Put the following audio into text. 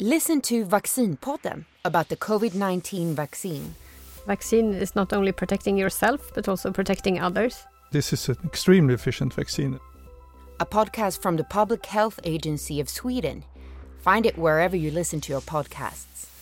Listen to Vaccinpodden about the COVID 19 vaccine. Vaccine is not only protecting yourself, but also protecting others. This is an extremely efficient vaccine. a podcast from the Public Health Agency of Sweden. Find it wherever you listen to your podcasts.